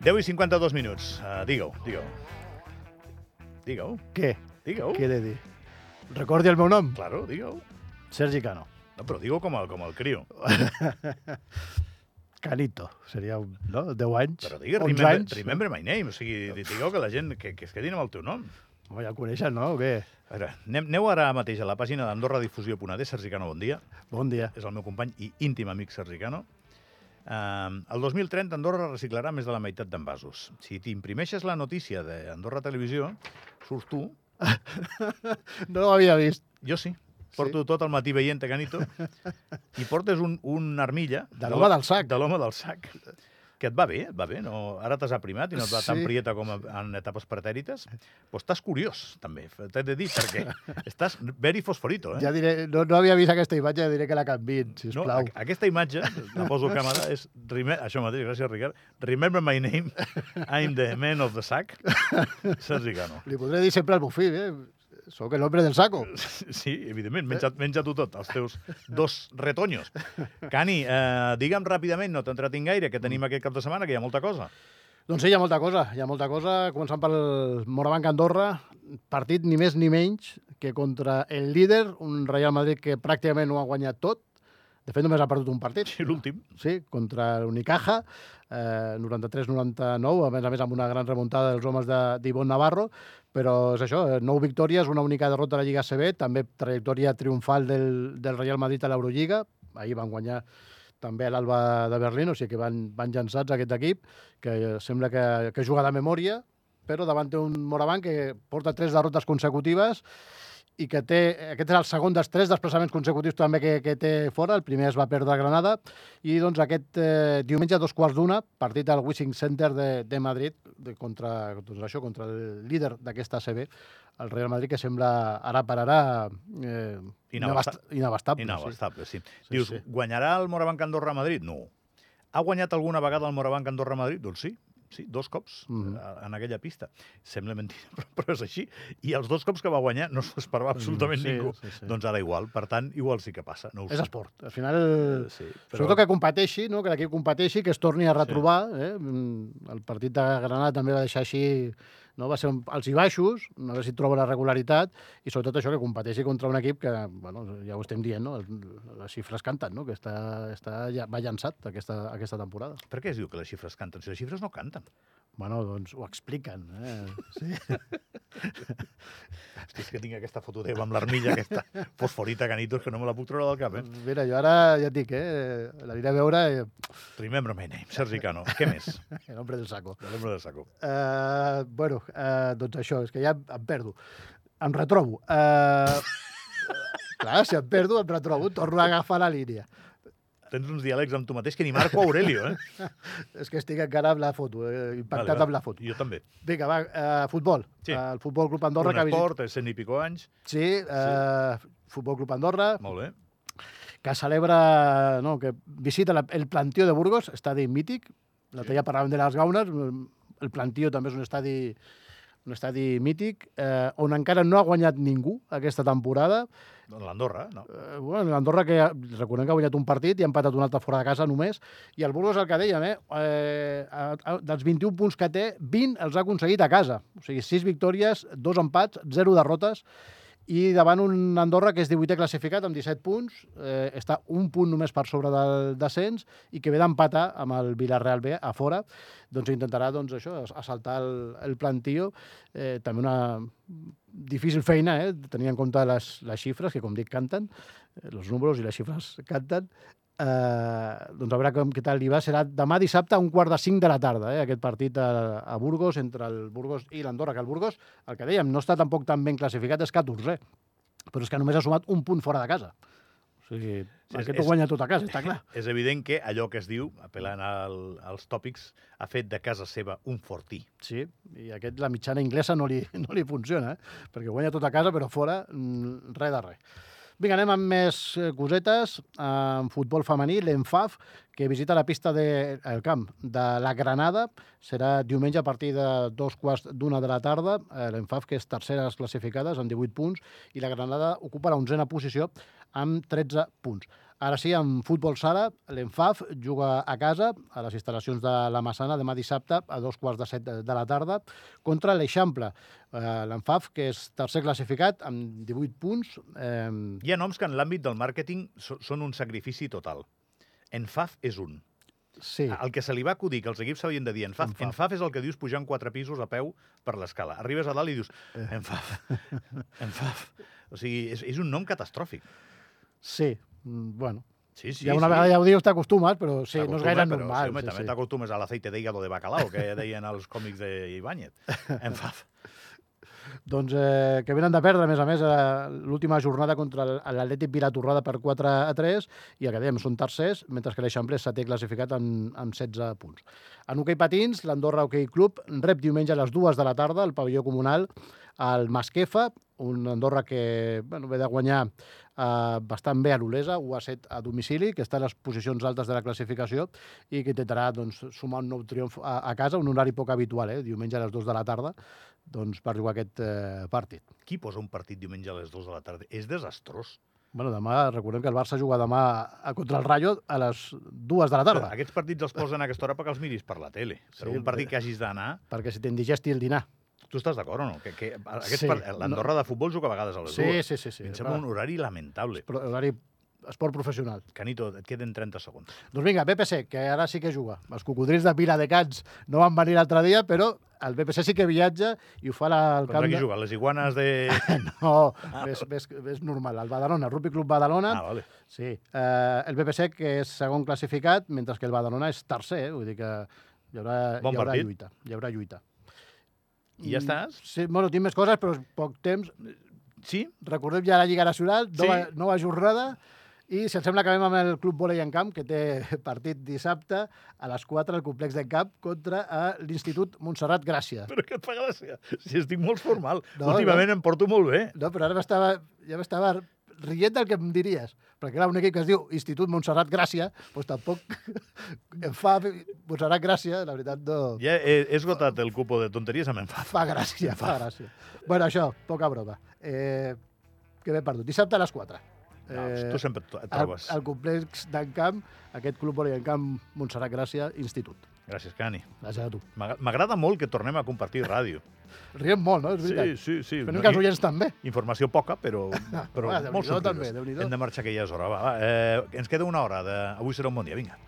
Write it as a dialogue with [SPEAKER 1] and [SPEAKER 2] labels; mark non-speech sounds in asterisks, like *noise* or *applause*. [SPEAKER 1] 10 i 52 minuts. Uh, digue-ho, digue-ho. Digue-ho,
[SPEAKER 2] Què?
[SPEAKER 1] digue-ho.
[SPEAKER 2] Què he de dir? Recordi el meu nom?
[SPEAKER 1] Claro, digue-ho.
[SPEAKER 2] Sergi Cano.
[SPEAKER 1] No, però digue-ho com, el, com el crio.
[SPEAKER 2] Canito. Seria, un, no? 10 anys.
[SPEAKER 1] Però digui
[SPEAKER 2] 11
[SPEAKER 1] remember,
[SPEAKER 2] anys.
[SPEAKER 1] remember my name. O sigui, di- digueu que la gent que, que es quedin amb el teu nom.
[SPEAKER 2] Home, ja el coneixen, no? O què?
[SPEAKER 1] A veure, anem, aneu ara mateix a la pàgina d'AndorraDifusió.d, Sergicano, bon dia.
[SPEAKER 2] Bon dia.
[SPEAKER 1] és el meu company i íntim amic Sergicano. Um, el 2030 Andorra reciclarà més de la meitat d'envasos. Si t'imprimeixes la notícia d'Andorra Televisió, surts tu,
[SPEAKER 2] No l'havia vist.
[SPEAKER 1] jo sí, porto sí. tot el matí veient Canito, i portes un, una armilla...
[SPEAKER 2] De l'home del sac.
[SPEAKER 1] De l'home del sac. Que et va bé, et va bé. No, ara t'has aprimat i no et va tan
[SPEAKER 2] Sí.
[SPEAKER 1] prieta com a- en etapes pretèrites. Però estàs curiós, també. T'he de dir, perquè estàs very fosforito, eh?
[SPEAKER 2] Ja diré, no, no havia vist aquesta imatge, ja diré que la canviïn,
[SPEAKER 1] No,
[SPEAKER 2] sisplau.
[SPEAKER 1] a- aquesta imatge, la poso a càmera, és rime, això mateix, gràcies, Ricard. Remember my name, I'm the man of the sack. Sergi Cano.
[SPEAKER 2] Li podré dir sempre al Bufí, eh? Soc el hombre del saco.
[SPEAKER 1] *laughs* Sí, evidentment, menja, menja tu tot, els teus dos retoños. Cani, eh, digue'm ràpidament, no t'entretinc gaire, que
[SPEAKER 2] Mm.
[SPEAKER 1] tenim aquest cap de setmana, que hi ha molta cosa.
[SPEAKER 2] Doncs sí, hi ha molta cosa, hi ha molta cosa. Començant pel Morabanc Andorra, partit ni més ni menys que contra el líder, un Real Madrid que pràcticament ho ha guanyat tot. De fet, només ha perdut un partit.
[SPEAKER 1] Sí, l'últim.
[SPEAKER 2] sí, contra l'Unicaja, eh, 93-99, a més a més amb una gran remuntada dels homes de- d'Ivon Navarro, però és això, eh, nou victòries, una única derrota a la Lliga CB, també trajectòria triomfal del, del Real Madrid a l'Eurolliga, ahir van guanyar també a l'Alba de Berlín, o sigui que van, van llançats aquest equip, que sembla que, que juga de memòria, però davant té un Morabanc que porta tres derrotes consecutives i que té, aquest és el segon dels tres desplaçaments consecutius també que, que té fora, el primer es va perdre a Granada, i doncs aquest eh, diumenge a dos quarts d'una, partit al Wishing Center de, de Madrid, de, contra, doncs això, contra el líder d'aquesta ACB, el Real Madrid, que sembla ara per ara eh,
[SPEAKER 1] Inabasta-
[SPEAKER 2] inabast- inabastable.
[SPEAKER 1] Inabastable, sí. Dius,
[SPEAKER 2] sí.
[SPEAKER 1] guanyarà el Morabanc Andorra a Madrid? No. Ha guanyat alguna vegada el Morabanc Andorra a Madrid? Doncs sí, sí, dos cops
[SPEAKER 2] Mhm.
[SPEAKER 1] eh, en aquella pista. Sembla mentida, *laughs* però, però és així. I els dos cops que va guanyar no s'ho esperava absolutament
[SPEAKER 2] Mm, sí,
[SPEAKER 1] ningú.
[SPEAKER 2] sí, sí.
[SPEAKER 1] Doncs ara igual, per tant, igual sí que passa. No ho
[SPEAKER 2] Sí. És
[SPEAKER 1] sé.
[SPEAKER 2] esport. Al final, el,
[SPEAKER 1] Sí,
[SPEAKER 2] Però... Sobretot que competeixi, no? que l'equip competeixi, que es torni a retrobar. Eh? Mm, El partit de Granada també va deixar així, no? va ser un- als i baixos, a veure si troba la regularitat, i sobretot això, que competeixi contra un equip que, bueno, ja ho estem dient, no? El- les xifres canten, no? que està, està, ja va llançat aquesta, aquesta temporada.
[SPEAKER 1] Per què es diu que les xifres canten? Si les xifres no canten.
[SPEAKER 2] Bueno, doncs ho expliquen. Eh? Sí.
[SPEAKER 1] Hosti, és que tinc aquesta foto teva amb l'armilla, aquesta fosforita canitos, que no me la puc treure del cap, eh?
[SPEAKER 2] Mira, jo ara ja et dic, eh? l'aniré a veure eh,
[SPEAKER 1] Remember my name, Sergi Cano. Què més?
[SPEAKER 2] l'ombre del saco.
[SPEAKER 1] Remember del saco.
[SPEAKER 2] Uh, bueno, uh, doncs això, és que ja em perdo. Em retrobo. Uh, *laughs* clar, si em perdo, em retrobo, torno a agafar la línia.
[SPEAKER 1] Tens uns diàlegs amb tu mateix que ni Marco Aurelio, eh?
[SPEAKER 2] És que estic encara amb la foto, eh,
[SPEAKER 1] Vale,
[SPEAKER 2] impactat
[SPEAKER 1] va.
[SPEAKER 2] amb la foto.
[SPEAKER 1] Jo també.
[SPEAKER 2] Vinga, va, uh, futbol.
[SPEAKER 1] Sí.
[SPEAKER 2] Uh, el Futbol Club Andorra.
[SPEAKER 1] Un
[SPEAKER 2] Que ha vist...
[SPEAKER 1] esport, cent i pico anys.
[SPEAKER 2] Sí, uh, Futbol Club Andorra,
[SPEAKER 1] Molt bé.
[SPEAKER 2] que celebra, no, que visita la, el plantío de Burgos, estadi mític. L'altre dia parlàvem de les gaunes, el plantío també és un estadi, un estadi mític, eh, on encara no ha guanyat ningú aquesta temporada.
[SPEAKER 1] Doncs L'Andorra, no?
[SPEAKER 2] Eh, bueno, l'Andorra, que ha- recordem que ha guanyat un partit i ha empatat un altre fora de casa només, i el Burgos, el que dèiem, eh, eh, a, a, dels 21 punts que té, 20 els ha aconseguit a casa. O sigui, 6 victòries, 2 empats, 0 derrotes, i davant un Andorra que és 18è classificat amb 17 punts, eh, està un punt només per sobre del descens i que ve d'empatar amb el Villarreal B a fora, doncs intentarà doncs, això, as- assaltar el, el plantío. Eh, també una difícil feina, eh, tenint en compte les, les xifres, que com dic canten, eh, els números i les xifres canten, eh, doncs a veure com, què tal li va. Serà demà dissabte a un quart de cinc de la tarda, eh, aquest partit a, a Burgos, entre el Burgos i l'Andorra, que el Burgos, el que dèiem, no està tampoc tan ben classificat, és 14, però és que només ha sumat un punt fora de casa. O sigui,
[SPEAKER 1] Sí, és-
[SPEAKER 2] aquest
[SPEAKER 1] és-
[SPEAKER 2] ho guanya tot a casa, està clar.
[SPEAKER 1] És evident que allò que es diu, apel·lant al, als tòpics, ha fet de casa seva un fortí.
[SPEAKER 2] Sí, i aquest la mitjana anglesa no li, *laughs* no li funciona, eh? perquè guanya tot a casa, però fora, mm, res de res. Vinga, anem amb més eh, cosetes. En futbol femení, l'ENFAF, que visita la pista del de, el camp de la Granada. Serà diumenge a partir de dos quarts d'una de la tarda. Eh, L'ENFAF, que és tercera a les classificades, amb 18 punts, i la Granada ocupa la onzena posició amb 13 punts. Ara sí, en futbol sala, l'Enfaf juga a casa, a les instal·lacions de la Massana, demà dissabte a dos quarts de set de de la tarda, contra l'Eixample. Eh, L'Enfaf, que és tercer classificat, amb 18 punts. Eh,
[SPEAKER 1] Hi ha noms que en l'àmbit del màrqueting so- són un sacrifici total. Enfaf és un.
[SPEAKER 2] sí,
[SPEAKER 1] El que se li va acudir, que els equips s'havien de dir Enfaf.
[SPEAKER 2] Enfaf.
[SPEAKER 1] Enfaf. és el que dius pujant quatre pisos a peu per l'escala. Arribes a dalt i dius Enfaf,
[SPEAKER 2] *laughs*
[SPEAKER 1] Enfaf. O sigui, és, és un nom catastròfic.
[SPEAKER 2] sí. Mm, Bueno,
[SPEAKER 1] Sí,
[SPEAKER 2] sí, ja una sí. vegada ja ho dius, t'acustumes, però sí, no és
[SPEAKER 1] T'acostumes,
[SPEAKER 2] gaire
[SPEAKER 1] però,
[SPEAKER 2] normal.
[SPEAKER 1] Sí, home,
[SPEAKER 2] sí,
[SPEAKER 1] també
[SPEAKER 2] sí.
[SPEAKER 1] t'acostumes a l'aceite d'hígado de bacalao, que deien els còmics d'Ibáñez. Enfaf.
[SPEAKER 2] Doncs eh, que venen de perdre, a més a més, eh, l'última jornada contra l- l'Atlètic Vilatorrada per 4 a 3, i el que dèiem, són tercers, mentre que l'Eixample és setè classificat amb, amb 16 punts. En hoquei patins, l'Andorra Hockey Club rep diumenge a les dues de la tarda al pavelló comunal al Masquefa, un Andorra que bueno, ve de guanyar eh, bastant bé a l'Olesa, 1 a 7 a domicili, que està a les posicions altes de la classificació i que intentarà doncs, sumar un nou triomf a, a casa, un horari poc habitual, eh, diumenge a les 2 de la tarda, doncs, per jugar aquest eh, partit.
[SPEAKER 1] Qui posa un partit diumenge a les 2 de la tarda? És desastrós.
[SPEAKER 2] Bueno, demà, recordem que el Barça juga demà a contra el Rayo a les 2 de la tarda,
[SPEAKER 1] Aquests partits els posen a aquesta hora perquè els miris per la tele. Però
[SPEAKER 2] Sí,
[SPEAKER 1] un
[SPEAKER 2] eh.
[SPEAKER 1] partit que hagis d'anar...
[SPEAKER 2] perquè si t'indigesti el dinar.
[SPEAKER 1] Tu estàs d'acord o no? Que, que aquest
[SPEAKER 2] Sí,
[SPEAKER 1] sí, L'Andorra no... de futbol juga a vegades a les
[SPEAKER 2] Sí,
[SPEAKER 1] 2.
[SPEAKER 2] sí, sí. sí.
[SPEAKER 1] Em sembla un horari lamentable.
[SPEAKER 2] Però horari esport professional.
[SPEAKER 1] Canito, et queden 30 segons.
[SPEAKER 2] Doncs vinga, BPC, que ara sí que juga. Els cocodrils de Viladecans no van venir l'altre dia, però el BPC sí que viatja i ho fa al
[SPEAKER 1] Contra
[SPEAKER 2] camp
[SPEAKER 1] qui
[SPEAKER 2] de...
[SPEAKER 1] juguen? Les iguanes de...
[SPEAKER 2] No, és, és, és normal. El Badalona, Rugby Club Badalona,
[SPEAKER 1] Ah, vale.
[SPEAKER 2] Sí, eh, el BPC que és segon classificat, mentre que el Badalona és tercer, eh? vull dir que hi haurà,
[SPEAKER 1] Bon
[SPEAKER 2] hi haurà
[SPEAKER 1] partit.
[SPEAKER 2] lluita. Hi haurà lluita.
[SPEAKER 1] I ja
[SPEAKER 2] Mm,
[SPEAKER 1] estàs?
[SPEAKER 2] Sí, bueno, tinc més coses, però és poc temps.
[SPEAKER 1] Sí?
[SPEAKER 2] Recordem ja la Lliga Nacional,
[SPEAKER 1] Sí.
[SPEAKER 2] nova, nova jornada, i si em sembla que acabem amb el Club Volei en Camp, que té *laughs* partit dissabte a les 4 al complex d'en Camp contra eh, l'Institut Montserrat Gràcia.
[SPEAKER 1] Però què et fa gràcia? Si estic molt formal.
[SPEAKER 2] No,
[SPEAKER 1] No, Últimament no. em porto molt bé.
[SPEAKER 2] No, però ara m'estava ja m'estava rient del que em diries. Perquè clar, un equip que es diu Institut Montserrat Gràcia, doncs tampoc *laughs* em fa Montserrat Gràcia, la veritat no...
[SPEAKER 1] Ja he, he esgotat el cupo de tonteries amb enfaf.
[SPEAKER 2] Fa gràcia, fa gràcia. bueno, això, poca broma. Eh, que m'he perdut. Dissabte a les 4.
[SPEAKER 1] Eh, tu sempre et et
[SPEAKER 2] al,
[SPEAKER 1] trobes.
[SPEAKER 2] al complex d'en Camp, aquest club volei en Camp Montserrat Gràcia Institut.
[SPEAKER 1] Gràcies, Cani.
[SPEAKER 2] Gràcies a tu.
[SPEAKER 1] M'agra- M'agrada molt que tornem a compartir ràdio.
[SPEAKER 2] Riem molt, no? És
[SPEAKER 1] Sí,
[SPEAKER 2] veritat.
[SPEAKER 1] sí, sí.
[SPEAKER 2] Però no, que els
[SPEAKER 1] i-
[SPEAKER 2] oients també.
[SPEAKER 1] Informació poca,
[SPEAKER 2] *laughs*
[SPEAKER 1] però, però
[SPEAKER 2] Va, Déu-n'hi-do,
[SPEAKER 1] molt sortides.
[SPEAKER 2] també, Déu-n'hi-do.
[SPEAKER 1] Hem de marxar que ja és hora. Va, va. Eh, ens queda una hora. De... Avui serà un bon dia, vinga.